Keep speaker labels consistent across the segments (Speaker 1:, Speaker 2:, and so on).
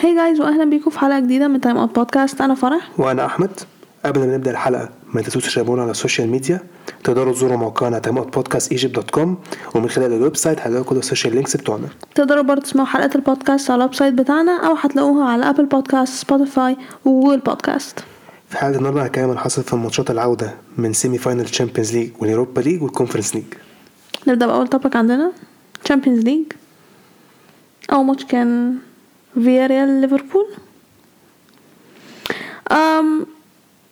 Speaker 1: هاي جايز واهلا بيكم في حلقه جديده من تايم اوت بودكاست انا فرح
Speaker 2: وانا احمد قبل ما نبدا الحلقه ما تنسوش تشاركونا على السوشيال ميديا تقدروا تزوروا موقعنا تايم بودكاست ايجيبت دوت كوم ومن خلال الويب سايت هتلاقوا كل السوشيال لينكس بتوعنا
Speaker 1: تقدروا برضه تسمعوا حلقات البودكاست على الويب سايت بتاعنا او هتلاقوها على ابل بودكاست سبوتيفاي وجوجل بودكاست
Speaker 2: في حلقه النهارده هنتكلم عن اللي حصل في ماتشات العوده من سيمي فاينال تشامبيونز ليج واليوروبا ليج والكونفرنس ليج
Speaker 1: نبدا باول توبك عندنا تشامبيونز ليج اول ماتش كان فياريال ليفربول أم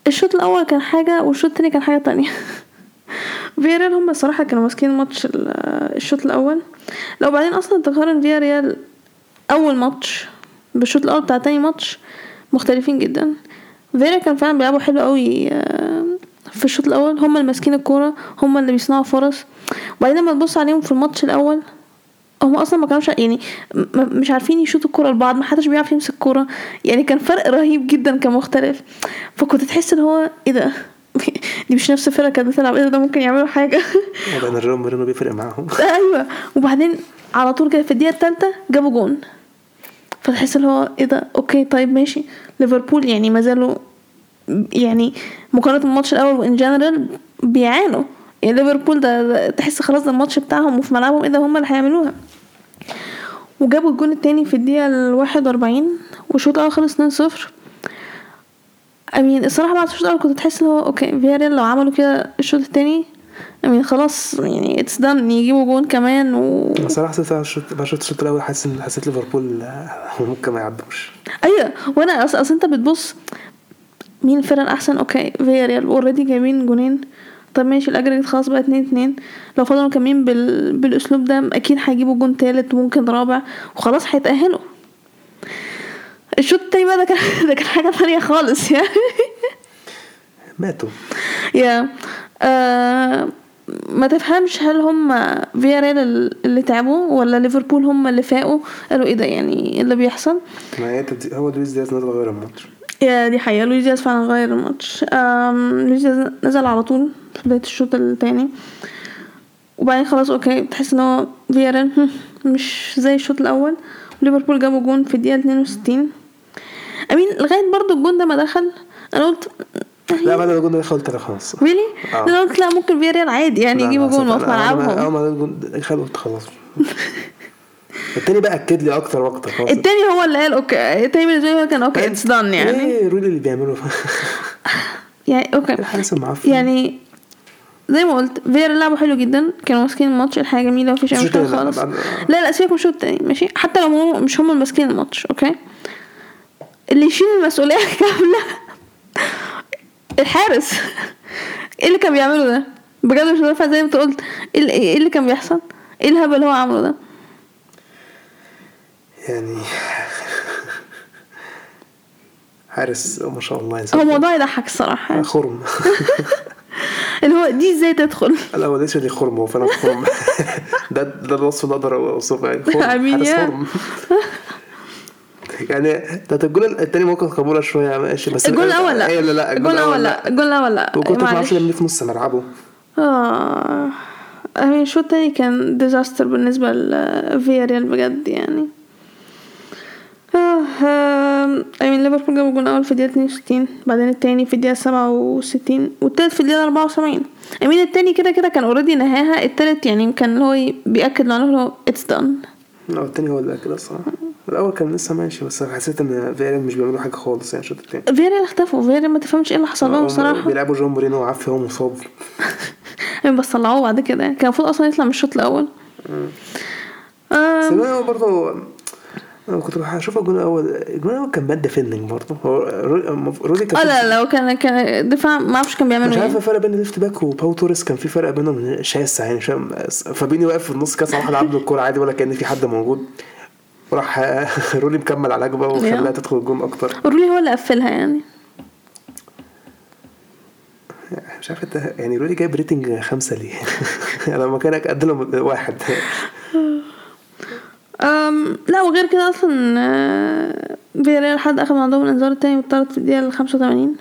Speaker 1: الشوط الاول كان حاجه والشوط التاني كان حاجه تانية فياريال هم الصراحه كانوا ماسكين ماتش ال- الشوط الاول لو بعدين اصلا تقارن فياريال اول ماتش بالشوط الاول بتاع تاني ماتش مختلفين جدا فيرا كان فعلا بيلعبوا حلو قوي آم، في الشوط الاول هم اللي ماسكين الكوره هم اللي بيصنعوا فرص وبعدين لما تبص عليهم في الماتش الاول هم اصلا ما كانوش يعني م- م- مش عارفين يشوطوا الكوره لبعض ما حدش بيعرف يمسك الكوره يعني كان فرق رهيب جدا كان مختلف فكنت تحس ان هو ايه ده دي مش نفس الفرقه كانت بتلعب ايه ده ده ممكن يعملوا حاجه
Speaker 2: وبعدين الريال مدريد بيفرق معاهم
Speaker 1: ايوه وبعدين على طول كده في الدقيقه الثالثه جابوا جون فتحس اللي هو ايه ده اوكي طيب ماشي ليفربول يعني ما زالوا يعني مقارنه بالماتش الاول وان جنرال بيعانوا يعني ليفربول ده ده تحس خلاص ده الماتش بتاعهم وفي ملعبهم ايه ده هم اللي هيعملوها وجابوا الجون التاني في الدقيقه ال 41 والشوط الاول خلص 2-0 امين الصراحه بعد الشوط الاول كنت تحس ان هو اوكي فياريال لو عملوا كده الشوط التاني امين خلاص يعني اتس دان يجيبوا جون كمان و
Speaker 2: بصراحه حسيت بعد الشوط- بعد الشوط الشوط الاول حاسس إن- حسيت ليفربول آه، ممكن ما يعدوش
Speaker 1: ايوه وانا اصل اصل انت بتبص مين الفرقه الاحسن اوكي فياريال اوريدي جايبين جونين طب ماشي الاجر خلاص بقى اتنين اتنين لو فضلوا مكملين بال... بالاسلوب ده اكيد هيجيبوا جون تالت وممكن رابع وخلاص هيتاهلوا الشوط التاني بقى ده كان ده كان حاجه تانية خالص يعني
Speaker 2: ماتوا
Speaker 1: يا آه، ما تفهمش هل هم فياريال اللي تعبوا ولا ليفربول هم اللي فاقوا قالوا ايه ده يعني إيه اللي بيحصل
Speaker 2: ما هي تدي- هو لويس دياز نزل غير الماتش
Speaker 1: يا دي حقيقة لويس دياز فعلا غير الماتش أم، لويس دياز نزل على طول في بداية الشوط التاني وبعدين خلاص اوكي تحس ان هو فياريال هم، مش زي الشوط الاول وليفربول جابوا جون في الدقيقة 62 امين لغاية برضو الجون ده ما دخل انا قلت
Speaker 2: لا بعد ما الجون ده قلت انا خلاص
Speaker 1: ريلي؟
Speaker 2: آه.
Speaker 1: انا قلت لا ممكن فياريال عادي يعني يجيبوا جون
Speaker 2: وقت
Speaker 1: وفي ملعبهم
Speaker 2: اه ما الجون خدوا خلاص التاني بقى اكد لي اكتر واكتر خلاص
Speaker 1: التاني هو اللي قال اوكي التاني بالنسبة لي هو كان اوكي اتس دان يعني
Speaker 2: ايه رولي اللي بيعمله
Speaker 1: يعني اوكي
Speaker 2: الحارس المعفن
Speaker 1: يعني زي ما قلت فيرا لعبوا حلو جدا كانوا ماسكين الماتش الحاجه جميله مفيش اي
Speaker 2: الشوط
Speaker 1: مشكله
Speaker 2: التاني لا،
Speaker 1: خالص
Speaker 2: بعد-
Speaker 1: لا لا سيبك من الشوط التاني ماشي حتى لو هم مش هم اللي ماسكين الماتش اوكي اللي يشيل المسؤوليه كامله الحارس ايه اللي كان بيعمله ده بجد مش عارفه زي ما انت قلت ايه اللي- ايه اللي كان بيحصل ايه الهبل اللي هو عامله ده
Speaker 2: يعني حارس ما شاء الله
Speaker 1: هو
Speaker 2: انسان
Speaker 1: موضوع يضحك الصراحه
Speaker 2: خرم
Speaker 1: اللي هو دي ازاي تدخل
Speaker 2: لا هو ليش اللي خرم هو فعلا خرم ده ده الوصف اللي اقدر اوصفه يعني خرم
Speaker 1: أمين
Speaker 2: حارس
Speaker 1: يا.
Speaker 2: خرم يعني ده الجول التاني ممكن قبوله شويه ماشي بس
Speaker 1: الجول الاول لا
Speaker 2: ايوه لا لا
Speaker 1: الجول الاول لا الجول الاول لا
Speaker 2: وكنت ما اعرفش
Speaker 1: معلش.
Speaker 2: لما في نص ملعبه
Speaker 1: اه يعني الشوط التاني كان ديزاستر بالنسبة لفياريال بجد يعني آه، اه يعني ليفربول جابوا جون اول في الدقيقة 62 بعدين التاني في الدقيقة 67 والتالت في الدقيقة 74 امين التاني كده كده كان اوريدي نهاها التالت يعني كان اللي هو ي- بيأكد لو هو اتس دان
Speaker 2: لا التاني هو اللي كده الصراحه الاول كان لسه ماشي بس حسيت ان فيرا مش بيعملوا حاجه خالص يعني الشوط التاني
Speaker 1: فياريال اختفوا فياريال ما تفهمش ايه اللي حصل لهم
Speaker 2: هم
Speaker 1: بصراحة
Speaker 2: بيلعبوا جون مورينو عافيه هو مصاب
Speaker 1: يعني بس طلعوه بعد كده كان المفروض اصلا يطلع من الشوط الاول آه،
Speaker 2: بس انا برضه انا كنت هشوف الجون الاول الجون الاول كان باد ديفندنج برضه هو رو- رودي
Speaker 1: اه
Speaker 2: كان
Speaker 1: لا لو كان كان دفاع ما اعرفش كان بيعملوا
Speaker 2: مش عارف
Speaker 1: ايه
Speaker 2: الفرق بين الليفت باك وباو توريس كان في فرق بينهم شاسع يعني مش فاهم فابيني واقف في النص كده صلاح لعب له الكوره عادي ولا كان في حد موجود راح رولي مكمل على عجبه وخلاها
Speaker 1: Yeah.
Speaker 2: تدخل الجون اكتر
Speaker 1: رولي هو اللي قفلها يعني
Speaker 2: مش عارف انت يعني رولي جايب ريتنج خمسه ليه؟ انا مكانك قد لهم واحد
Speaker 1: أم لا وغير كده اصلا آه، فياريال حد اخد من عندهم الانذار التاني واتطرد في الدقيقه ال 85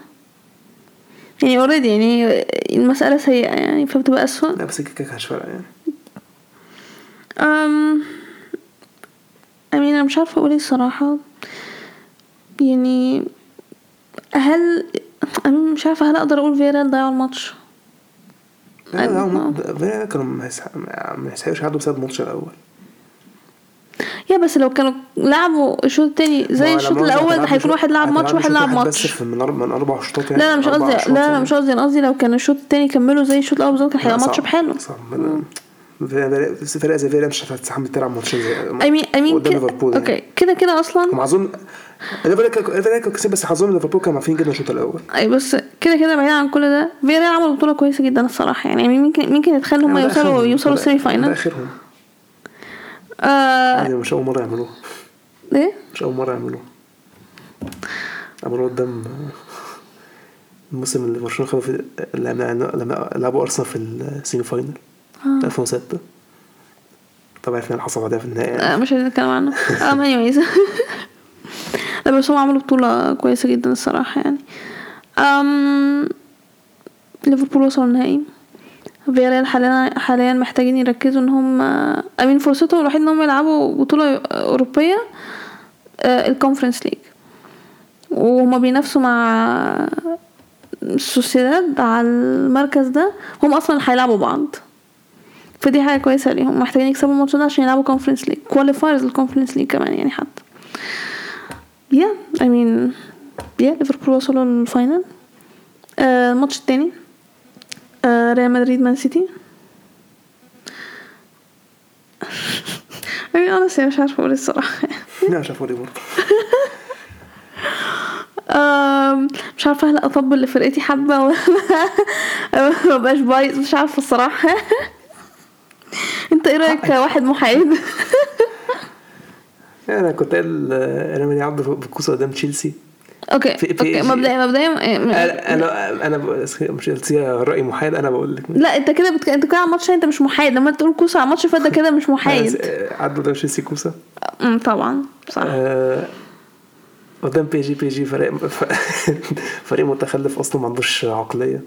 Speaker 1: يعني اوريدي يعني المساله سيئه يعني فبتبقى اسوء
Speaker 2: لا بس كده كانش فرق يعني
Speaker 1: أم أمين أنا مش عارفة أقول إيه الصراحة يعني هل انا مش عارفه هل اقدر اقول فيرال ضيعوا الماتش
Speaker 2: لا لا
Speaker 1: أيوة.
Speaker 2: هم- ده- فيا كانوا ما يسح- ما- ما يسحقوش يعدوا بسبب الماتش الاول
Speaker 1: يا بس لو كانوا لعبوا الشوط التاني زي
Speaker 2: هو
Speaker 1: الشوط
Speaker 2: لما قلت
Speaker 1: الاول
Speaker 2: هتلعب
Speaker 1: هيكون
Speaker 2: بشوط-
Speaker 1: واحد لعب ماتش
Speaker 2: هتلعب
Speaker 1: واحد لعب
Speaker 2: بشوط واحد بس
Speaker 1: ماتش
Speaker 2: في- من أربع- من اربع شوطات يعني
Speaker 1: لا انا مش
Speaker 2: أربع
Speaker 1: قصدي
Speaker 2: أشواط
Speaker 1: لا انا
Speaker 2: يعني.
Speaker 1: مش قصدي انا قصدي لو كان الشوط التاني كملوا زي الشوط الاول بالظبط كان هيبقى
Speaker 2: لا،
Speaker 1: ماتش
Speaker 2: صعب-
Speaker 1: بحاله
Speaker 2: صعب فرقة- فرقة زي فيلا مش هتستحمل تلعب ماتشين زي
Speaker 1: اي مين اي مين
Speaker 2: قدام ليفربول يعني.
Speaker 1: اوكي كده كده اصلا
Speaker 2: هم اظن ليفربول كان- ليفربول كان كسب بس حظهم ليفربول كانوا عارفين جدا الشوط الاول
Speaker 1: اي بس كده كده بعيدا عن كل ده فيريال عملوا بطوله كويسه جدا الصراحه يعني ممكن ممكن يتخيل هم
Speaker 2: يعني ده
Speaker 1: يوصلوا
Speaker 2: آخرهم.
Speaker 1: يوصلوا
Speaker 2: ده-
Speaker 1: السيمي
Speaker 2: ده
Speaker 1: فاينل
Speaker 2: اخرهم
Speaker 1: آه
Speaker 2: يعني مش اول مره يعملوها
Speaker 1: ايه
Speaker 2: مش اول مره يعملوها عملوها قدام الموسم اللي برشلونه خدوا فيه لما لما لعبوا ارسنال في السيمي فاينل 2006 طبعا عرفنا اللي حصل بعدها في النهائي يعني.
Speaker 1: آه مش عايزين نتكلم عنه اه ما هي ميزة لا بس هم عملوا بطولة كويسة جدا الصراحة يعني أم ليفربول وصلوا النهائي فياريال حاليا حاليا محتاجين يركزوا ان هم امين فرصتهم الوحيدة ان هم يلعبوا بطولة اوروبية آه، الكونفرنس ليج وهما بينافسوا مع سوسيداد على المركز ده هم اصلا هيلعبوا بعض فدي حاجه كويسه ليهم محتاجين يكسبوا الماتش ده عشان يلعبوا كونفرنس ليج كواليفايرز الكونفرنس ليج كمان يعني حتى يا اي مين يا ليفربول وصلوا للفاينل آه، الماتش التاني آه، ريال مدريد مان سيتي I mean honestly مش عارفة أقول إيه الصراحة
Speaker 2: لا مش عارف أقول إيه برضه
Speaker 1: آم، مش عارفه هل اطبل لفرقتي حبه ولا ما بقاش بايظ مش عارفه الصراحه انت ايه رايك كواحد محايد
Speaker 2: انا كنت قايل آه، ريال مدريد عدوا بالكوسه قدام تشيلسي
Speaker 1: اوكي
Speaker 2: في- في-
Speaker 1: اوكي
Speaker 2: في-
Speaker 1: مبدئيا مبدئيا إيه،
Speaker 2: انا انا انا ب- مش تشيلسي راي محايد انا بقول لك
Speaker 1: لا انت كده بتك... انت كده على ماتش انت مش محايد لما تقول كوسه على ماتش فده كده مش محايد
Speaker 2: آه، عدوا قدام تشيلسي كوسه
Speaker 1: أمم، طبعا صح
Speaker 2: آه، قدام بي جي بي جي فريق ف- فريق متخلف اصلا ما عندوش عقليه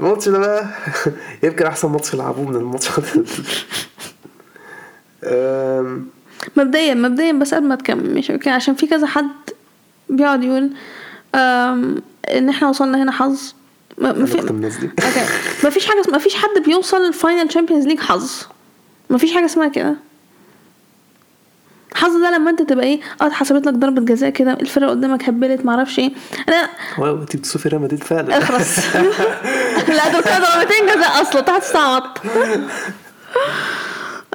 Speaker 2: الماتش ده بقى يمكن احسن ماتش لعبوه من الماتش ده آم،
Speaker 1: مبدئيا مبدئيا بس قبل ما تكمل ماشي اوكي عشان في كذا حد بيقعد يقول أم... ان احنا وصلنا هنا حظ ما ما
Speaker 2: انا كنت
Speaker 1: في
Speaker 2: من الناس دي
Speaker 1: اوكي مفيش حاجه اسمها مفيش حد بيوصل الفاينل تشامبيونز ليج حظ مفيش حاجه اسمها كده حظ ده لما انت تبقى ايه اه اتحسبت لك ضربه جزاء كده الفرقه قدامك هبلت معرفش ايه انا
Speaker 2: واو انت بتصفي ريال مدريد فعلا
Speaker 1: اخرس لا دول كده ضربتين جزاء اصلا تحت استعبط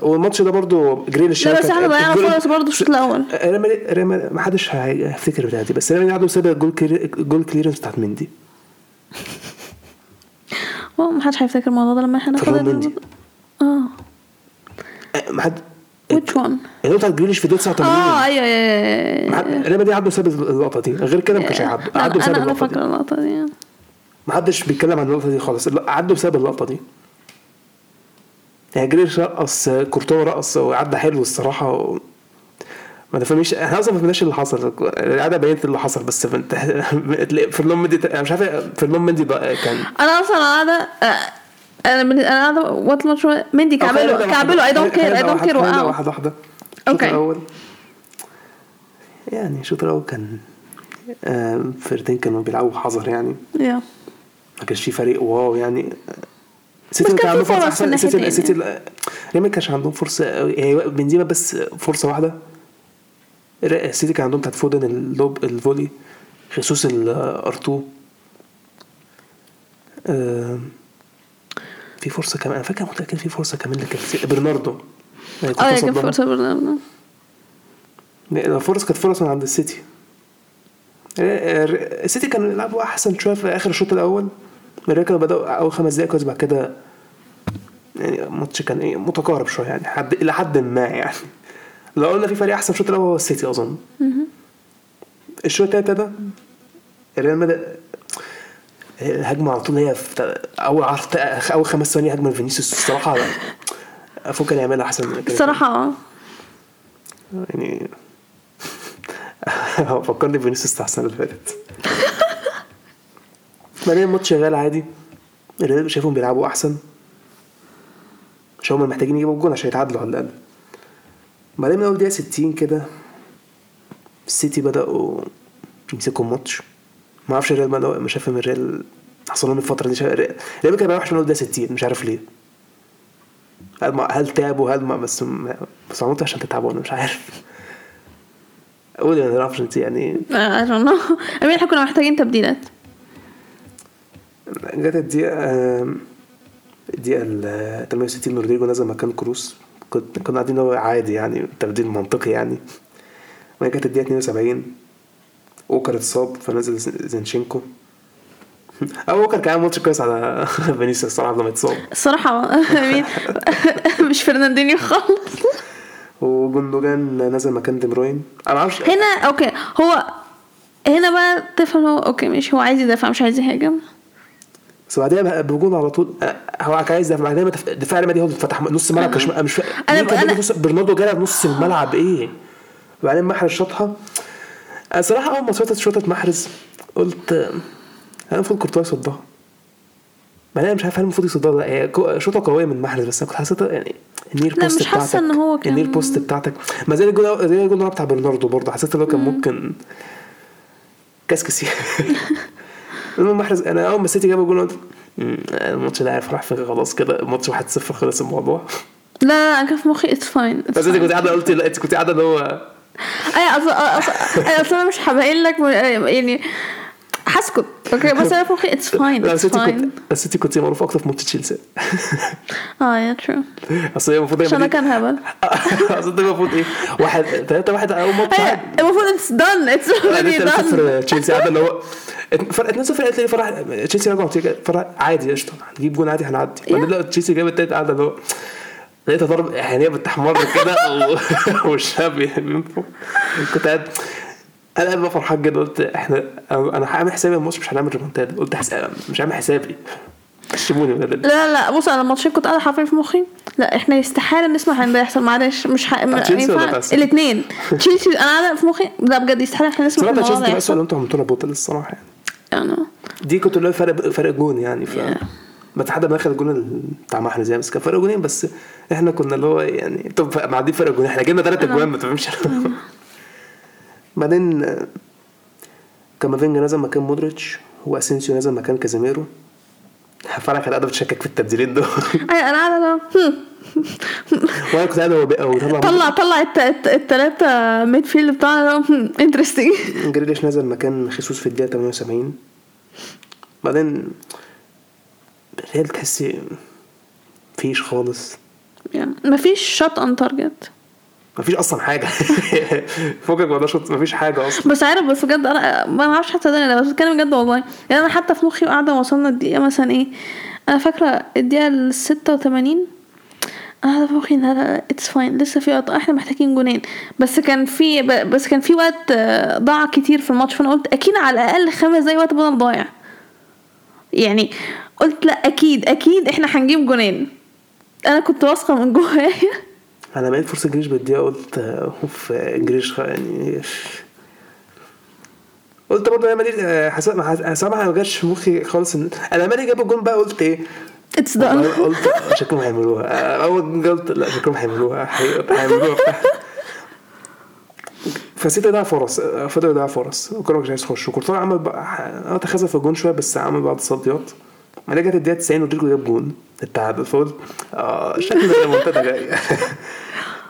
Speaker 2: والماتش ده برضه جريليش
Speaker 1: لا
Speaker 2: يعني
Speaker 1: بس
Speaker 2: كان-
Speaker 1: احنا ضيعنا
Speaker 2: الجول-
Speaker 1: فرص برضه في الشوط الاول
Speaker 2: ريال مدريد- ريال مدريد- ما حدش هي- هيفتكر بتاعتي دي بس ريال مدريد عنده سبب الجول كلير- الجول كليرنس بتاعت مندي
Speaker 1: هو محدش هيفتكر الموضوع ده لما احنا ناخد
Speaker 2: فضل مندي.
Speaker 1: ال- اه
Speaker 2: أه، ما حد
Speaker 1: which one
Speaker 2: اللي بتاعت جريليش في دقيقه 89
Speaker 1: اه ايوه ايوه
Speaker 2: ما
Speaker 1: ايوه
Speaker 2: حد- ريال مدريد عنده سبب اللقطه دي غير كده ما كانش هيعدوا
Speaker 1: لا،
Speaker 2: عدوا بسبب
Speaker 1: انا انا
Speaker 2: اللقطه دي
Speaker 1: فاكره اللقطه دي
Speaker 2: ما حدش بيتكلم عن اللقطه دي خالص لا، عدوا بسبب اللقطه دي يعني جريش رقص كورتوا رقص وعدى حلو الصراحه و... ما تفهميش احنا اصلا ما فهمناش اللي حصل العاده بينت اللي حصل بس انت فرلون مندي انا مش عارف فرلون مندي بقى كان
Speaker 1: انا اصلا قاعده آه، انا من انا قاعده وات ماتش مندي كعبله كعبله اي دونت كير اي دونت كير
Speaker 2: واحده
Speaker 1: وقعوا
Speaker 2: واحده واحده
Speaker 1: أوكي.
Speaker 2: اوكي الاول يعني الشوط الاول كان آه، فرقتين كانوا بيلعبوا حذر يعني
Speaker 1: Yeah.
Speaker 2: ما كانش في فريق واو يعني سيتي
Speaker 1: كان في
Speaker 2: كان عنده
Speaker 1: فرص
Speaker 2: فرصه
Speaker 1: يعني.
Speaker 2: احسن
Speaker 1: الناحيتين
Speaker 2: سيتي سيتي لا- ريال ما كانش عندهم فرصه قوي هي بنزيما بس فرصه واحده را- سيتي كان عندهم بتاعت فودن اللوب الفولي خصوص الارتو في فرصه كمان انا فاكر متاكد في فرصه كمان اللي كانت برناردو يعني كنت
Speaker 1: اه يا كان
Speaker 2: مصدمة.
Speaker 1: فرصه برنامج
Speaker 2: إيه. الفرص كانت فرص من عند السيتي السيتي كانوا يلعبوا احسن شويه في اخر الشوط الاول الريال كانوا بداوا اول خمس دقايق كويس بعد كده يعني الماتش كان ايه متقارب شويه يعني حد الى حد ما يعني لو قلنا في فريق احسن في الشوط الاول هو السيتي اظن الشوط التالت ده الريال مدى الهجمه على طول هي في اول عرض اول خمس ثواني هجمه لفينيسيوس الصراحه المفروض كان يعملها احسن من كده
Speaker 1: الصراحه اه
Speaker 2: يعني هو فكرني بفينيسيوس بتاع السنه اللي فاتت بعدين الماتش شغال عادي الريال شايفهم بيلعبوا احسن مش هما محتاجين يجيبوا جون عشان يتعادلوا على الاقل بعدين من اول دقيقه 60 كده السيتي بداوا يمسكوا الماتش ما اعرفش الريال بدأ مش فاهم الريال حصل لهم الفتره دي شا- الريال الريال كان رايح من اول دقيقه 60 مش عارف ليه هل ما هل تعبوا هل ما بس بس عملت عشان تتعبوا انا مش عارف قول يعني ما اعرفش يعني
Speaker 1: I don't know امين احنا كنا محتاجين تبديلات
Speaker 2: جت الدقيقة آم، الدقيقة ال 68 رودريجو نزل مكان كروس كنت كنا قاعدين هو عادي يعني تبديل منطقي يعني وبعد جت الدقيقة 72 اوكر اتصاب فنزل زين- زينشينكو او اوكر كان عامل ماتش كويس على فينيسيوس الصراحة لما اتصاب
Speaker 1: الصراحه امين مش فرناندينيو خالص
Speaker 2: وجندوجان نزل مكان دي بروين انا معرفش
Speaker 1: هنا اوكي هو هنا بقى تفهم هو اوكي ماشي هو عايز يدافع مش عايز يهاجم
Speaker 2: بس بعدها بقى بوجود على طول آه، هو كان عايز يدافع، بعدين ما تف- دفاع ريال مدريد هو اللي اتفتح نص ملعب كش مش فا...
Speaker 1: أه. أنا-
Speaker 2: مين كان
Speaker 1: أنا-
Speaker 2: بيجي نص- برناردو جاله نص الملعب ايه وبعدين محرز شاطها أنا صراحه اول ما شاطت شاطت محرز قلت آه، انا المفروض كورتوا يصدها بعدين أنا مش عارف هل المفروض يصدها ولا لا هي كو- شوطه قويه من محرز بس انا كنت حسيتها يعني النير
Speaker 1: لا،
Speaker 2: بوست
Speaker 1: مش حاسة
Speaker 2: بتاعتك
Speaker 1: إن هو كان-
Speaker 2: النير بوست بتاعتك ما زي الجول زي الجول بتاع برناردو برضه حسيت ان هو كان ممكن كسكسي المهم محرز انا اول ما السيتي جاب الجول قلت "مم، الماتش ده عارف راح فين خلاص كده الماتش 1-0 خلص الموضوع
Speaker 1: لا لا انا كان في مخي اتس فاين
Speaker 2: بس انت كنت قاعده قلت لا انت كنت قاعده اللي هو
Speaker 1: انا اصلا اصلا انا اصلا مش هبين لك م- يعني هسكت اوكي بس انا في مخي اتس فاين
Speaker 2: لا
Speaker 1: اتس
Speaker 2: السيتي كنت
Speaker 1: فاين
Speaker 2: السيتي كنت معروف اكتر في ماتش تشيلسي
Speaker 1: اه يا
Speaker 2: طيب،
Speaker 1: ترو
Speaker 2: اصل هي المفروض
Speaker 1: عشان انا
Speaker 2: هي
Speaker 1: كان هبل
Speaker 2: اصل ده المفروض ايه واحد 3 1 اول ماتش
Speaker 1: هي-
Speaker 2: عادي
Speaker 1: المفروض اتس دان اتس اوريدي
Speaker 2: بعدين 3
Speaker 1: دان
Speaker 2: 0 تشيلسي قاعده اللي هو فرق 2 0 قالت لي فرح تشيلسي رجعوا تيجي فرح عادي قشطه هنجيب جون عادي هنعدي بعدين لا تشيلسي جاب التالت قاعده اللي هو لقيتها ضرب عينيها بتحمر كده و- وشها بينفخ كنت قاعد انا قاعد بقى فرحان جدا قلت احنا انا هعمل حسابي الماتش مش هنعمل ريمونتادا قلت حس- مش هعمل حسابي سيبوني ولا
Speaker 1: لا لا لا بص انا الماتشين كنت قاعده حرفيا في مخي لا احنا يستحاله نسمع ان ده يحصل معلش مش ح...
Speaker 2: تشيلسي ولا بتاع السيتي؟
Speaker 1: الاثنين تشيلسي انا قاعده في مخي لا بجد يستحاله احنا نسمع
Speaker 2: صراحه
Speaker 1: ان
Speaker 2: تشيلسي
Speaker 1: الموضوع ده
Speaker 2: بقى السؤال
Speaker 1: يحصل
Speaker 2: اللي انتوا عملتوه لنا بطل الصراحه يعني
Speaker 1: يعني
Speaker 2: دي كنت اللي هو فرق فرق جون يعني ف
Speaker 1: Yeah.
Speaker 2: ما حد ما اخد الجون ال- بتاع محرز يعني بس كان فرق جونين بس احنا كنا اللي هو يعني طب معدي فرق جونين احنا جبنا ثلاث اجوان ما تفهمش بعدين آه، كامافينجا نزل مكان مودريتش واسينسيو نزل مكان كازيميرو فرح كانت قاعده بتشكك في التبديلين دول
Speaker 1: أي- انا قاعده لا، هم.
Speaker 2: وانا كنت قاعد هو بقى وطلع
Speaker 1: طلع طلع الثلاثه ميد فيلد بتاعنا انترستنج
Speaker 2: جريليش نزل مكان خيسوس في الدقيقه 78 بعدين الريال تحس مفيش خالص
Speaker 1: يعني مفيش شوت اون تارجت
Speaker 2: مفيش اصلا حاجه فوقك ما ده شوط مفيش حاجه اصلا
Speaker 1: بس عارف بس بجد انا ما اعرفش حتى ده بس بتكلم بجد والله يعني انا حتى في مخي قاعده وصلنا الدقيقه مثلا ايه انا فاكره الدقيقه ال 86 انا قاعده في مخي لا لا اتس فاين لسه في وقت احنا محتاجين جونين بس كان في ب- بس كان في وقت آه، ضاع كتير في الماتش فانا قلت اكيد على الاقل خمس دقايق وقت بدل ضايع يعني قلت لا اكيد اكيد احنا هنجيب جونين انا كنت واثقه من جوايا
Speaker 2: انا بقيت فرصه جريش بالدقيقه قلت آه، اوف آه، جريش خ- يعني قلت برضه يا مدريد آه، حسب ما حس- صراحه ما جاتش في مخي خالص ان انا مالي جاب الجون بقى قلت ايه
Speaker 1: اتس دان
Speaker 2: والله قلت شكلهم هيعملوها آه، اول قلت لا شكلهم هيعملوها حقيقة هيعملوها فسيتي ضيع فرص آه، فضل يضيع فرص وكانوا مش عايز يخشوا كورتوا عمل بقى اه تخاذل في الجون شويه بس عمل بعض التصديات بعدين جت الدقيقه 90 ودريجو جاب جون التعادل فقلت اه شكل المنتدى جاي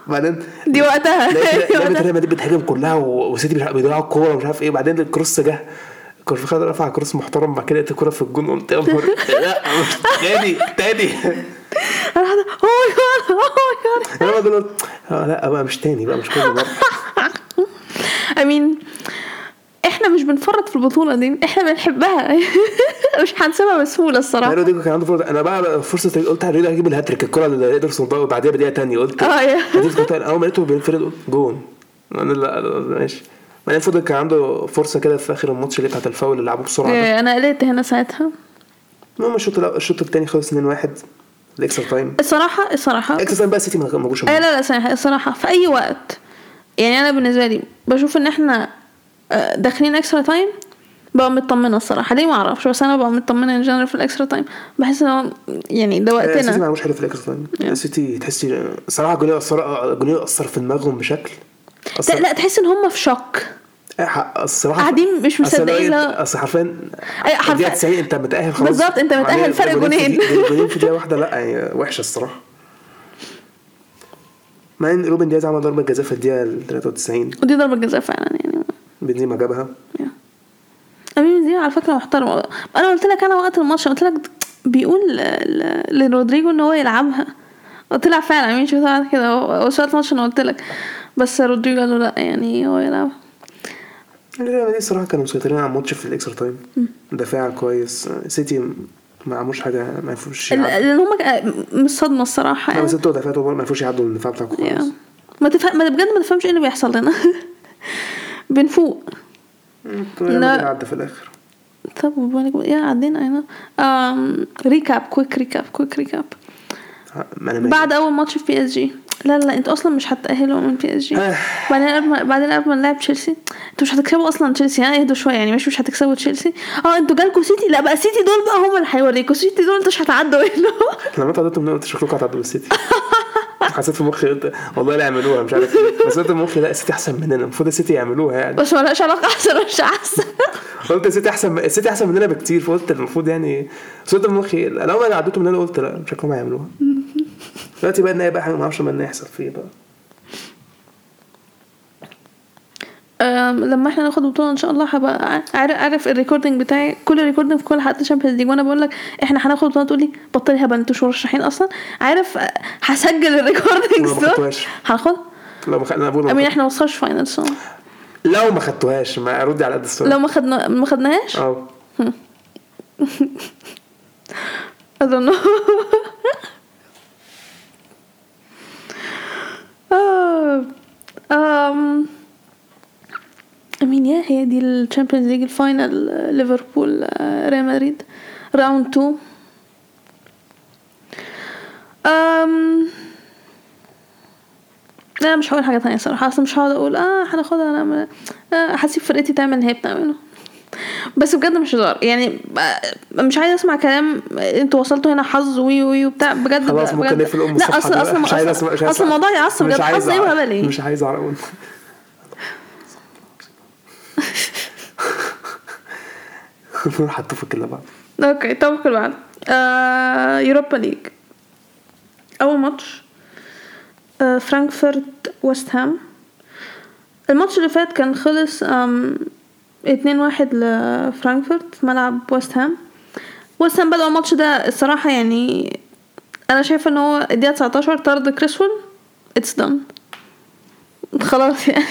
Speaker 2: بعدين
Speaker 1: دي وقتها دي
Speaker 2: لعبه
Speaker 1: وقتها
Speaker 2: ريال مدريد بتهاجم كلها و- وسيتي بيلع- بيضيعوا الكوره ومش عارف ايه وبعدين الكروس جه كارفخال رفع كروس محترم بعد كده لقيت الكوره في الجون قمت يا نهار لا مش
Speaker 1: انا قاعده اوه ماي جاد اوه
Speaker 2: تاني تاني
Speaker 1: ماي جاد
Speaker 2: انا بقى قلت آه لا بقى مش تاني بقى مش كل مره
Speaker 1: امين احنا مش بنفرط في البطوله دي احنا بنحبها مش هنسيبها بسهوله الصراحه
Speaker 2: ريال مدريد كان عنده فرصه انا بقى فرصه قلت على ريال هيجيب الهاتريك الكوره اللي ادرسون ضاعت بعديها بدقيقه تانيه قلت
Speaker 1: اه يا
Speaker 2: هتفضل تاني. اول ما لقيته بينفرد قلت جون انا لا لا، لا، ماشي بعدين فضل كان عنده فرصه كده في اخر الماتش اللي بتاعت الفاول اللي لعبوه بسرعه ده.
Speaker 1: إيه، انا قلقت هنا ساعتها
Speaker 2: المهم الشوط الأول- الشوط الثاني خلص 2-1 الاكسترا تايم
Speaker 1: الصراحه الصراحه
Speaker 2: الاكسترا تايم بقى السيتي ما ما جوش
Speaker 1: آه
Speaker 2: الماتش.
Speaker 1: لا لا صحيح الصراحة في أي وقت يعني أنا بالنسبة لي بشوف إن إحنا آه، داخلين اكسترا تايم بقى مطمنة الصراحة ليه معرفش بس أنا بقى مطمنة إن جنرال في الاكسترا تايم بحس إن هو يعني ده
Speaker 2: آه، السيتي ما
Speaker 1: وقتنا إيه.
Speaker 2: عملوش حاجه في الاكسترا تايم السيتي تحسي صراحه جونيه اثر جونيه اثر آه، في دماغهم بشكل
Speaker 1: لا,
Speaker 2: أثر-
Speaker 1: لا تحس إن هم في شك
Speaker 2: آه، حق- الصراحه
Speaker 1: قاعدين مش
Speaker 2: أصل لو
Speaker 1: مصدقين
Speaker 2: أنت-
Speaker 1: لا.
Speaker 2: اصل حرفيا
Speaker 1: أي حرفيا-
Speaker 2: الدقيقة 90 انت متاهل خلاص
Speaker 1: بالظبط، أنت متأهل
Speaker 2: بعدين
Speaker 1: فرق
Speaker 2: في
Speaker 1: جونين.
Speaker 2: دقيقة- جونين في دقيقه واحده لا يعني وحشه الصراحه مع ان روبن دياز عمل ضربه جزاء في الدقيقه ال 93
Speaker 1: ودي ضربة جزاء فعلا يعني
Speaker 2: بنزيما جابها
Speaker 1: أمين بنزيما على فكرة محترمة أنا قلت لك أنا وقت الماتش قلت لك بيقول ل- ل- لرودريجو إن هو يلعبها طلع فعلا أمين شوف طلع كده هو سؤال الماتش أنا قلت لك بس رودريجو قال له لا يعني هو يلعبها
Speaker 2: ريال مدريد الصراحه كانوا مسيطرين على الماتش في الاكسترا تايم دفاع كويس سيتي ما عملوش حاجه ما عرفوش
Speaker 1: ال-
Speaker 2: يعدوا
Speaker 1: لان هم مش صدمه الصراحه
Speaker 2: ما
Speaker 1: يعني
Speaker 2: سيتوا دفاعاتهم ما عرفوش يعدوا الدفاع بتاعكم
Speaker 1: Yeah.
Speaker 2: كويس
Speaker 1: ما تفهم ما بجد ما تفهمش ايه اللي بيحصل لنا بنفوق
Speaker 2: ريال
Speaker 1: لا.
Speaker 2: مدريد عدى في الاخر
Speaker 1: طب وبالك يا عدينا هنا آم، ريكاب كويك ريكاب كويك ريكاب
Speaker 2: ه- ما انا ماشي.
Speaker 1: بعد اول ماتش في بي اس جي لا لا انتوا اصلا مش هتأهلوا من بي اس جي
Speaker 2: آه.
Speaker 1: بعدين قبل ما بعدين قبل ما نلعب تشيلسي انتوا مش هتكسبوا اصلا تشيلسي ها اهدوا شويه يعني مش مش هتكسبوا تشيلسي اه انتوا جالكوا سيتي لا بقى سيتي دول بقى هم اللي هيوريكوا سيتي دول انتوا مش هتعدوا منهم
Speaker 2: لما انت عديتوا من قلت شكلكم هتعدوا بالسيتي حسيت في مخي قلت والله لا يعملوها مش عارف ايه بس قلت في مخي لا السيتي احسن مننا المفروض السيتي يعملوها يعني
Speaker 1: بس مالهاش علاقه احسن ولا مش احسن
Speaker 2: قلت السيتي احسن السيتي احسن مننا بكتير فقلت المفروض يعني بس قلت في مخي لا، لو ما عديتوا مننا قلت لا شكلهم هيعملوها دلوقتي بقى النهائي بقى حاجه ما اعرفش بقى النهائي هيحصل فيه بقى
Speaker 1: أم، لما احنا ناخد بطوله ان شاء الله هبقى عارف عارف الريكوردنج بتاعي كل الريكوردنج في كل حلقه شامبيونز ليج وانا بقول لك احنا هناخد بطوله تقول لي بطلي هبل انتوا مش مرشحين اصلا عارف أه، هسجل الريكوردنجز
Speaker 2: ولو ما
Speaker 1: دول
Speaker 2: خدتوهاش؟
Speaker 1: هناخد
Speaker 2: لو ما خ- انا بقول لو ما
Speaker 1: امين
Speaker 2: خدت-
Speaker 1: احنا ما وصلش فاينل صح؟
Speaker 2: لو ما خدتوهاش ما ردي على قد السؤال
Speaker 1: لو ما خدنا ما خدناهاش
Speaker 2: اه
Speaker 1: I don't know آه، أم، امين يا هي دي الشامبيونز ليج الفاينل آه، ليفربول آه، ريال مدريد راوند 2 أم لا مش هقول حاجة تانية صراحة أصلا مش هقعد أقول اه هناخدها أنا م- آه، هسيب فرقتي تعمل اللي هي بتعمله بس بجد مش هزار يعني ب- مش عايزة أسمع كلام انتوا وصلتوا هنا حظ وي وي وبتاع بجد
Speaker 2: خلاص
Speaker 1: بجد-
Speaker 2: ممكن نقفل ام
Speaker 1: لا
Speaker 2: الصفحه
Speaker 1: أصلا
Speaker 2: دي بقى.
Speaker 1: أصلا
Speaker 2: مش عايز أسمع- مش عايز
Speaker 1: أصلا
Speaker 2: أسمع.
Speaker 1: الموضوع يعصب
Speaker 2: مش
Speaker 1: بجد
Speaker 2: عايز
Speaker 1: حظ إيه
Speaker 2: أعرف.
Speaker 1: وهبل إيه
Speaker 2: مش عايز اعرف نروح على التوفيق اللي بعد
Speaker 1: اوكي طب كل بعد آه يوروبا ليج اول ماتش آه فرانكفورت ويست هام الماتش اللي فات كان خلص آم، 2-1 لفرانكفورت في ملعب ويست هام ويست هام بدأوا الماتش ده الصراحة يعني انا شايفة ان هو الدقيقة 19 طرد كريسول اتس دان خلاص يعني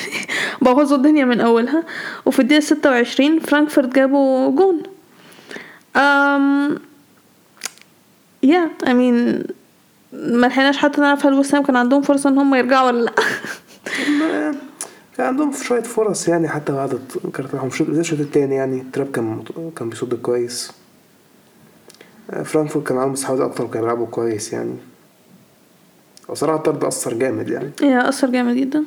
Speaker 1: بوظوا الدنيا من اولها وفي الدقيقة 26 فرانكفورت جابوا جون um, yeah I mean ما لحقناش حتى نعرف هل وسام كان عندهم فرصة ان هم يرجعوا ولا لا
Speaker 2: ما- كان يعني عندهم شوية فرص يعني حتى بعد الت- كانت راحهم شوط بالذات الشوط التاني يعني تراب كان مت- كان بيصد كويس آه، فرانكفورت كان عليهم مساحات أكتر وكان بيلعبوا كويس يعني وصراحة الطرد أثر جامد يعني
Speaker 1: يا أثر جامد جدا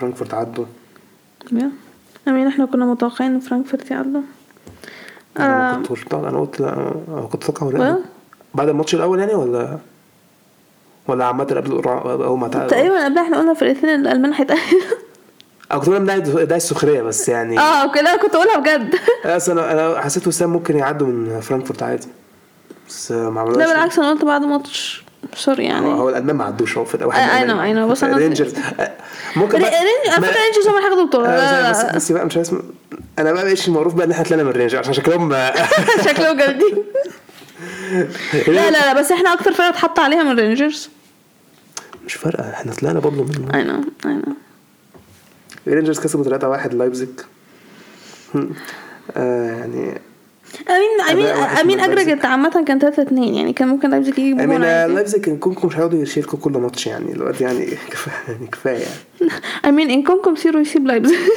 Speaker 2: فرانكفورت عدوا
Speaker 1: yeah. I mean احنا كنا متوقعين ان فرانكفورت يعدوا
Speaker 2: أنا
Speaker 1: آم،
Speaker 2: ما كنت أنا قلت لا أنا كنت فاكر
Speaker 1: آه. Well.
Speaker 2: ولا بعد الماتش الأول يعني ولا ولا عامة قبل القرعة- أول ما تعادل
Speaker 1: تقريبا قبل احنا قلنا فرقتين الألمان هيتأهلوا
Speaker 2: أو كنت بقول ده ده السخرية بس يعني
Speaker 1: اه اوكي لا كنت اقولها بجد
Speaker 2: أصل أنا أنا حسيت وسام ممكن يعدوا من فرانكفورت عادي بس ما عملوش
Speaker 1: لا بالعكس انا قلت بعد ماتش سوري
Speaker 2: آه، هو
Speaker 1: يعني
Speaker 2: هو الالمان ما عدوش هو في الاول
Speaker 1: I- I know, I know, بس أنا-
Speaker 2: رينجرز ممكن
Speaker 1: ري-
Speaker 2: بقى-
Speaker 1: رينج- على
Speaker 2: ما-
Speaker 1: فكرة رينجرز هم اللي هياخدوا البطولة لا،
Speaker 2: أنا- بس
Speaker 1: لا، لا.
Speaker 2: بس بقى مش عارف اسمه انا بقى بقيتش معروف بقى ان احنا طلعنا من رينجرز عشان شكلهم
Speaker 1: شكلهم جامدين لا لا لا بس احنا اكتر فرقة اتحط عليها من رينجرز
Speaker 2: مش فارقه احنا طلعنا برضه من
Speaker 1: I know I know
Speaker 2: رينجرز كسبوا 3-1 لايبزيج آه، يعني
Speaker 1: امين امين
Speaker 2: وحش
Speaker 1: امين
Speaker 2: من
Speaker 1: اجرجت عامه كان 3 2 يعني كان ممكن لايبزيج يجيب جون
Speaker 2: امين
Speaker 1: عادي.
Speaker 2: لايبزيج كان كونكو مش هيقعدوا يشيلكوا كل ماتش يعني الواد يعني كفايه يعني كفايه يعني.
Speaker 1: امين ان كونكم سيروا يسيب لايبزيج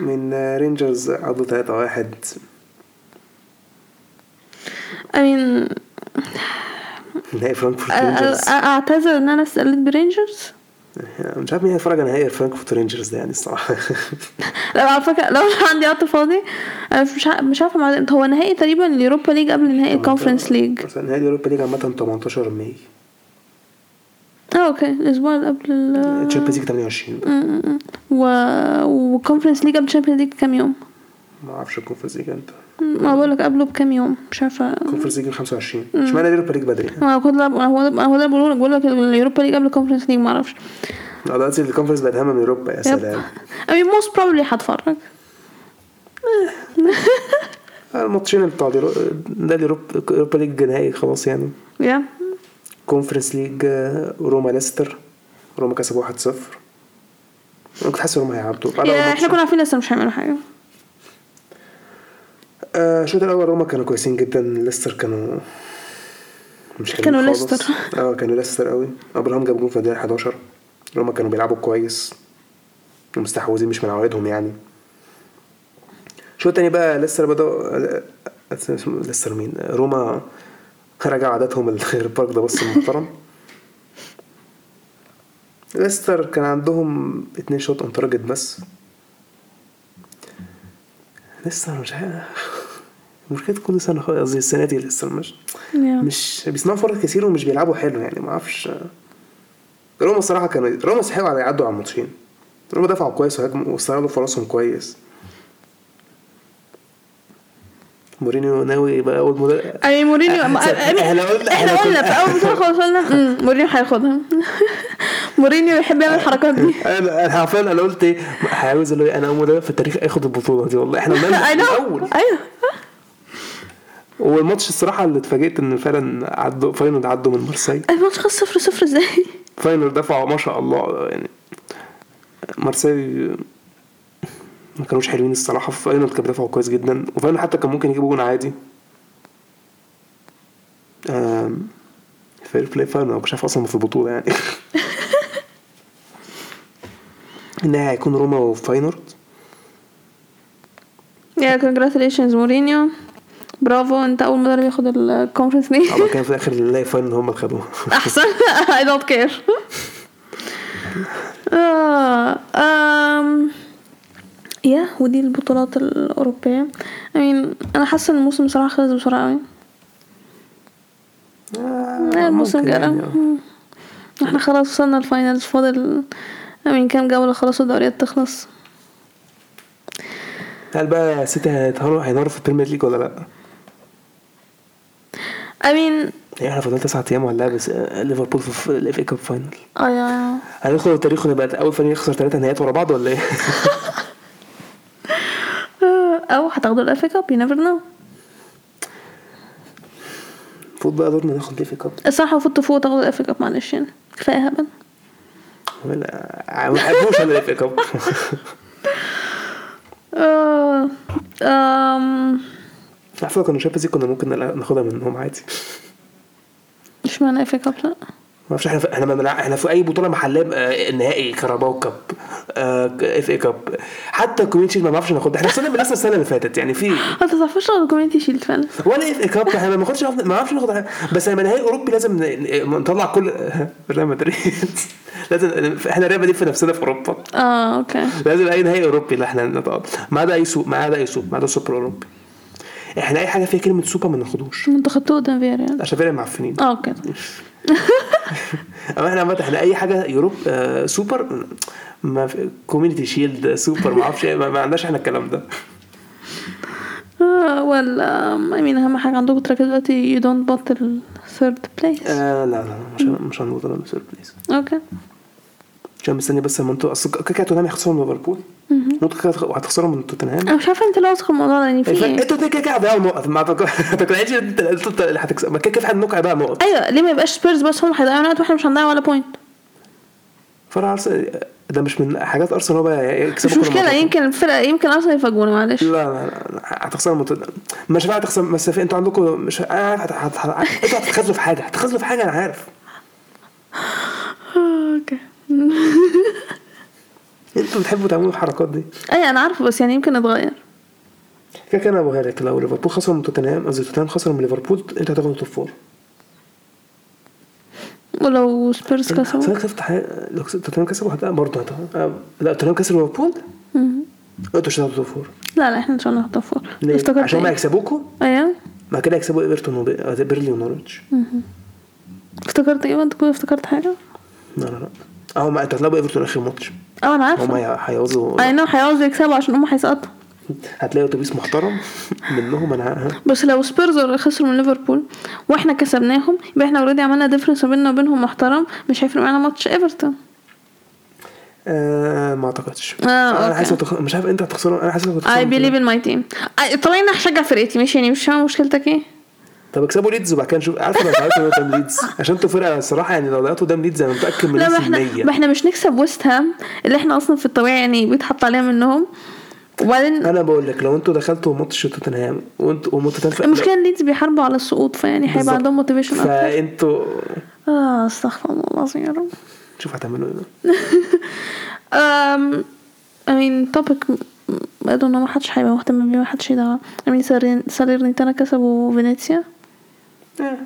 Speaker 2: من رينجرز عضو 3 واحد
Speaker 1: امين
Speaker 2: نهائي
Speaker 1: أه،
Speaker 2: فرانكفورت رينجرز
Speaker 1: اعتذر ان انا استقلت برينجرز
Speaker 2: مش عارف مين هيتفرج على نهائي فرانكفورت رينجرز ده يعني الصراحه
Speaker 1: لا على فكره لو مش عندي وقت فاضي انا مش عا- مش عارفه مع- هو نهائي تقريبا اليوروبا ليج قبل نهائي الكونفرنس ليج
Speaker 2: بس نهائي اليوروبا ليج عامه 18 ماي
Speaker 1: اه اوكي الاسبوع اللي قبل ال
Speaker 2: تشامبيونز ليج 28
Speaker 1: م- م- م. و والكونفرنس ليج قبل الشامبيونز ليج كام يوم
Speaker 2: ما اعرفش الكونفرنس ليج امتى
Speaker 1: ما بقول لك قبله بكام يوم مش عارفه
Speaker 2: الكونفرنس ليج 25 اشمعنى اليوروبا ليج بدري يعني؟
Speaker 1: انا كنت لعب انا هو ده انا هو ده بقول لك بقول لك اليوروبا ليج قبل الكونفرنس ليج ما اعرفش
Speaker 2: اه دلوقتي الكونفرنس بقت اهم من اوروبا يا
Speaker 1: يب
Speaker 2: سلام
Speaker 1: I mean most probably هتفرج
Speaker 2: آه، الماتشين بتوع اليورو- ده اليوروبا اليوروبا ليج نهائي خلاص يعني
Speaker 1: يا
Speaker 2: كونفرنس ليج آه، روما ليستر روما كسبوا 1-0 انا كنت حاسس ان هم هيعدوا بعد أول
Speaker 1: يا
Speaker 2: ماتش.
Speaker 1: احنا كنا عارفين لسه مش هيعملوا حاجه
Speaker 2: آه، الشوط الاول روما كانوا كويسين جدا ليستر كانوا مش حلوين
Speaker 1: كانوا
Speaker 2: خالص.
Speaker 1: ليستر.
Speaker 2: اه كانوا ليستر قوي ابراهام جاب جول في الدقيقه 11 روما كانوا بيلعبوا كويس ومستحوذين مش من عوايدهم يعني الشوط التاني بقى ليستر بدأوا آه، آه، اسمه ليستر مين آه، روما رجعوا عاداتهم البارك ده بص محترم ليستر كان عندهم اتنين شوط اون تارجت بس لسه مش عارف مشكلة كل سنة خالص قصدي السنة دي لسه مش
Speaker 1: يا.
Speaker 2: مش بيصنعوا فرص كتير ومش بيلعبوا حلو يعني ما اعرفش روما الصراحة كانوا روما يستحقوا على يعدوا على الماتشين روما دفعوا كويس وهاجموا واستغلوا فرصهم كويس مورينيو ناوي يبقى أول مدرب
Speaker 1: I mean مورينيو
Speaker 2: إحنا
Speaker 1: I mean
Speaker 2: قلنا-
Speaker 1: احنا
Speaker 2: إحنا
Speaker 1: قلنا
Speaker 2: كنا-
Speaker 1: في اول بطوله خالص قلنا "أمم، مورينيو هياخدها مورينيو يحب يعمل الحركات دي
Speaker 2: انا أنا حرفيا انا قلت ايه عاوز اللي هو انا اول مدرب في التاريخ اخد البطوله دي والله احنا
Speaker 1: I
Speaker 2: مالنا
Speaker 1: know
Speaker 2: الاول
Speaker 1: ايوه
Speaker 2: والماتش الصراحه اللي اتفاجئت ان فعلا عدوا فاينل عدوا من مارسيل
Speaker 1: الماتش خلص صفر صفر ازاي
Speaker 2: فاينر دفعوا ما شاء الله يعني مارسيل ما كانوش حلوين الصراحه فاينر كان بيدافعوا كويس جدا وفاينر حتى كان ممكن يجيبوا جون عادي آم، فير بلاي فاينر أنا مش عارف اصلا في البطوله يعني النهائي هيكون روما وفاينر
Speaker 1: يا كونجراتيليشنز مورينيو برافو انت اول مدرب ياخد الكونفرنس ليج
Speaker 2: اما كان في الاخر نلاقي فاينل هم اللي خدوها
Speaker 1: احسن I don't care آه، آم، يا ودي البطولات الأوروبية I mean أنا حاسة إن الموسم بصراحة خلص بسرعة أوي آه، الموسم
Speaker 2: ممكن يعني،
Speaker 1: جرى
Speaker 2: آه.
Speaker 1: احنا خلاص وصلنا الفاينلز فاضل I mean كام جولة خلاص الدوريات تخلص
Speaker 2: هل بقى سيتي هيتهرب- هينهاروا في البريمير ليج ولا لا؟
Speaker 1: I mean
Speaker 2: يعني احنا فاضل تسعة ايام ولا بس آه، ليفربول في الاف اي كاب فاينل
Speaker 1: اه يا
Speaker 2: هندخل التاريخ ونبقى اول فريق يخسر ثلاثة نهائيات ورا بعض ولا ايه؟
Speaker 1: آه، أو هتاخدوا الأفريكا كاب you never know
Speaker 2: المفروض بقى دورنا ناخد ليفي كاب
Speaker 1: الصراحة المفروض تفوق تاخدوا الأفريكا كاب معلش يعني كفاية هبل
Speaker 2: ولا ما بحبوش انا ليفي كاب
Speaker 1: آه، آم،
Speaker 2: على فكره كنا شايف كنا ممكن نلع- ناخدها منهم عادي
Speaker 1: اشمعنى افريكا كاب لا
Speaker 2: ما اعرفش احنا في احنا ما بنلع- احنا في اي بطوله محليه بقى نهائي كاراباو كاب آه، اف اي كاب حتى الكوميونتي شيلد ما بنعرفش ناخدها احنا خسرنا من الناس السنه اللي فاتت يعني في
Speaker 1: انت تعرفوش لو الكوميونتي شيلد فعلا
Speaker 2: ولا اف اي كاب احنا ايه ما بناخدش ما بنعرفش ناخد حاجة. بس لما نهائي اوروبي لازم ن- ن- نطلع كل ريال مدريد لازم احنا ريال مدريد في نفسنا في اوروبا
Speaker 1: اه اوكي
Speaker 2: لازم اي نهائي اوروبي اللي احنا نطلع ما عدا اي سوق ما عدا اي سوق ما عدا سوبر اوروبي احنا اي حاجه فيها كلمه سوبر ما ناخدوش
Speaker 1: انتوا خدتوه قدام فيا يعني
Speaker 2: عشان فعلا معفنين
Speaker 1: اه اوكي
Speaker 2: اما احنا عامه احنا اي حاجه يوروب آه سوبر ما في كوميونتي شيلد سوبر ما اعرفش إيه، ما, ما عندناش احنا الكلام ده
Speaker 1: آه، ولا اي مين اهم حاجه عندكم تركزوا دلوقتي يو دونت بطل ثيرد بليس
Speaker 2: آه لا لا مش مش هنوض انا سوبر بليز
Speaker 1: اوكي
Speaker 2: عشان مستني بس لما انتوا اصل كده كده توتنهام هيخسروا من ليفربول وانتوا كده هتخسروا من توتنهام إيه،
Speaker 1: انا مش عارفه انت لو واثق من الموضوع ده يعني في
Speaker 2: الفرق-
Speaker 1: ايه
Speaker 2: انتوا كده كده هتضيعوا نقط ما تق- ما تقنعنيش إن انت أنت اللي هتكسب ما كده كده في حد انكم هتضيع نقط
Speaker 1: ايوه ليه ما يبقاش سبيرز بس هم هيضيعوا وقت واحنا مش هنضيع ولا بوينت
Speaker 2: فرع ارسنال ده مش من حاجات ارسنال هو بقى يعني يكسبوا
Speaker 1: مش
Speaker 2: كرة
Speaker 1: مشكله
Speaker 2: مرتين.
Speaker 1: يمكن الفرقه يمكن ارسنال يفاجئونا معلش
Speaker 2: لا لا لا هتخسر المنتخب مش بقى هتخسر بس في- انتوا عندكم مش انا عارف هت- هت- هت- انتوا هتتخاذلوا في حاجه هتتخاذلوا في حاجه انا عارف
Speaker 1: اوكي
Speaker 2: انتوا بتحبوا تعملوا الحركات دي
Speaker 1: اي انا عارفه بس يعني يمكن اتغير
Speaker 2: كده كده انا بقولها لك لو ليفربول خسر من توتنهام قصدي توتنهام خسر من ليفربول انت هتاخد التوب فور
Speaker 1: ولو سبيرز
Speaker 2: توتنهام
Speaker 1: كسبوا
Speaker 2: كسبت حاجة- لو كسبت- توتنهام كسبوا هت- برضه هت- آه، لا توتنهام كسب ليفربول
Speaker 1: مم.
Speaker 2: انتوا مش هتاخدوا التوب فور
Speaker 1: لا لا احنا ان شاء الله هنخطف فور
Speaker 2: ليه؟
Speaker 1: افتكرت
Speaker 2: عشان ما
Speaker 1: إيه؟
Speaker 2: يكسبوكم
Speaker 1: ايوه
Speaker 2: بعد كده يكسبوا ايفرتون وب- آه، بيرلي ونورwich
Speaker 1: افتكرت ايه انت كنت افتكرت حاجه
Speaker 2: لا لا لا اهو ما انتوا هتلعبوا ايفرتون اخر ماتش
Speaker 1: اه انا
Speaker 2: هم
Speaker 1: عارفه
Speaker 2: هيعوزوا
Speaker 1: اي نو هيعوزوا يكسبوا عشان هم هيسقطوا
Speaker 2: هتلاقي اتوبيس محترم منهم أه، انا
Speaker 1: بس لو سبيرز خسروا من ليفربول واحنا كسبناهم يبقى احنا اوريدي عملنا ديفرنس بيننا وبينهم محترم مش هيفرق معانا ماتش ايفرتون
Speaker 2: آه ما اعتقدش
Speaker 1: آه،
Speaker 2: انا
Speaker 1: أوكي.
Speaker 2: حاسس هتخ- مش عارف انت هتخسرهم انا حاسس
Speaker 1: اي بليف
Speaker 2: هتخسرهم
Speaker 1: ان ماي تيم طالعين هشجع فرقتي ماشي يعني مش فاهمه مشكلتك ايه
Speaker 2: طب اكسبوا ليدز وبعد كده نشوف عارف انا مش عارف إن هو قدام ليدز عشان انتوا فرقه الصراحه يعني لو لقيتوا قدام ليدز انا متاكد من
Speaker 1: لا ما
Speaker 2: 100%
Speaker 1: احنا ما احنا مش نكسب ويست هام اللي احنا اصلا في الطبيعي يعني بيتحط عليها منهم وبعدين
Speaker 2: انا بقول لك لو انتوا دخلتوا ماتش توتنهام وانتوا ومتتنهام في-
Speaker 1: المشكله ان ليدز بيحاربوا على السقوط فيعني هيبقى
Speaker 2: بالظبط.
Speaker 1: عندهم موتيفيشن اكتر
Speaker 2: فانتوا
Speaker 1: اه استغفر الله العظيم يا رب
Speaker 2: شوف هتعملوا ايه
Speaker 1: um, I mean topic I don't know ما حدش هيبقى مهتم بيه ما حدش يدعى I mean سالير- ساليرنيتانا كسبوا فينيسيا
Speaker 2: آه.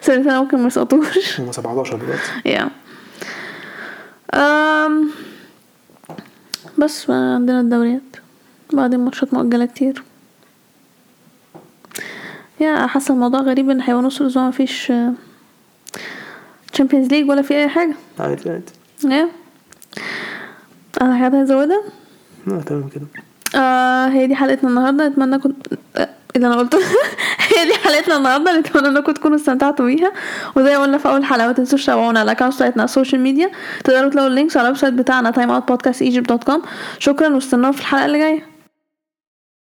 Speaker 1: ساليرنيتانا ممكن ما يسقطوش
Speaker 2: هم 17 دلوقتي
Speaker 1: yeah um, بس عندنا الدوريات بعدين ماتشات مؤجلة كتير يا حاسة الموضوع غريب ان هيبقى نص الاسبوع مفيش تشامبيونز ليج ولا في اي حاجة
Speaker 2: عادي عادي
Speaker 1: ايه انا حاجات هزودها
Speaker 2: لا تمام كده
Speaker 1: آه هي دي حلقتنا النهارده اتمنى كنت آه، اللي انا قلته هي دي حلقتنا النهارده نتمنى انكم تكونوا استمتعتوا بيها وزي ما قلنا في اول حلقه ما تنسوش تتابعونا على الاكونت بتاعتنا على السوشيال ميديا تقدروا تلاقوا اللينكس على الويب سايت بتاعنا timeoutpodcastegypt.com شكرا واستنونا في الحلقه اللي جايه